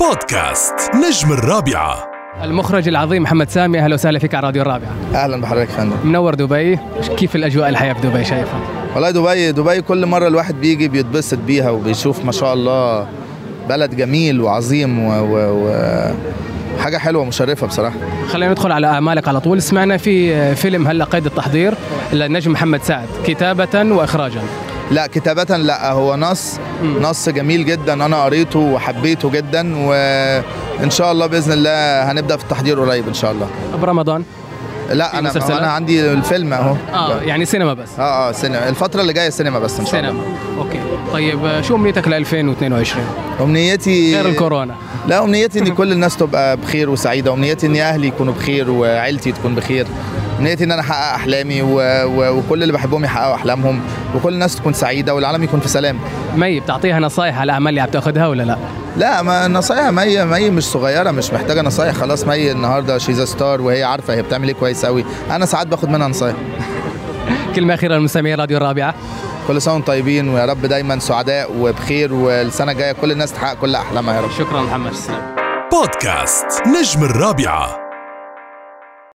بودكاست نجم الرابعة المخرج العظيم محمد سامي اهلا وسهلا فيك على راديو الرابعه اهلا بحضرتك يا فندم منور دبي كيف الاجواء الحياه في دبي شايفها والله دبي دبي كل مره الواحد بيجي بيتبسط بيها وبيشوف ما شاء الله بلد جميل وعظيم و, و... و... حاجه حلوه مشرفه بصراحه خلينا ندخل على اعمالك على طول سمعنا في فيلم هلا قيد التحضير للنجم محمد سعد كتابه واخراجا لا كتابة لا هو نص مم. نص جميل جدا انا قريته وحبيته جدا وان شاء الله باذن الله هنبدا في التحضير قريب ان شاء الله برمضان في لا انا مسلسلات؟ انا عندي الفيلم اهو اه يعني سينما بس اه اه سينما الفتره اللي جايه سينما بس ان شاء الله سينما اوكي طيب آه، شو امنيتك ل 2022 امنيتي غير الكورونا لا امنيتي ان كل الناس تبقى بخير وسعيده امنيتي ان اهلي يكونوا بخير وعيلتي تكون بخير امنيتي ان انا احقق احلامي و... و... وكل اللي بحبهم يحققوا احلامهم وكل الناس تكون سعيده والعالم يكون في سلام مي بتعطيها نصايح على الاعمال اللي عم تاخذها ولا لا لا ما نصايح مي مي مش صغيره مش محتاجه نصايح خلاص مي النهارده شيزا ستار وهي عارفه هي بتعمل ايه كويس قوي انا ساعات باخد منها نصايح كلمه اخيره لمستمعي راديو الرابعه كل سنه وانتم طيبين ويا رب دايما سعداء وبخير والسنه الجايه كل الناس تحقق كل احلامها يا رب شكرا محمد بودكاست نجم الرابعه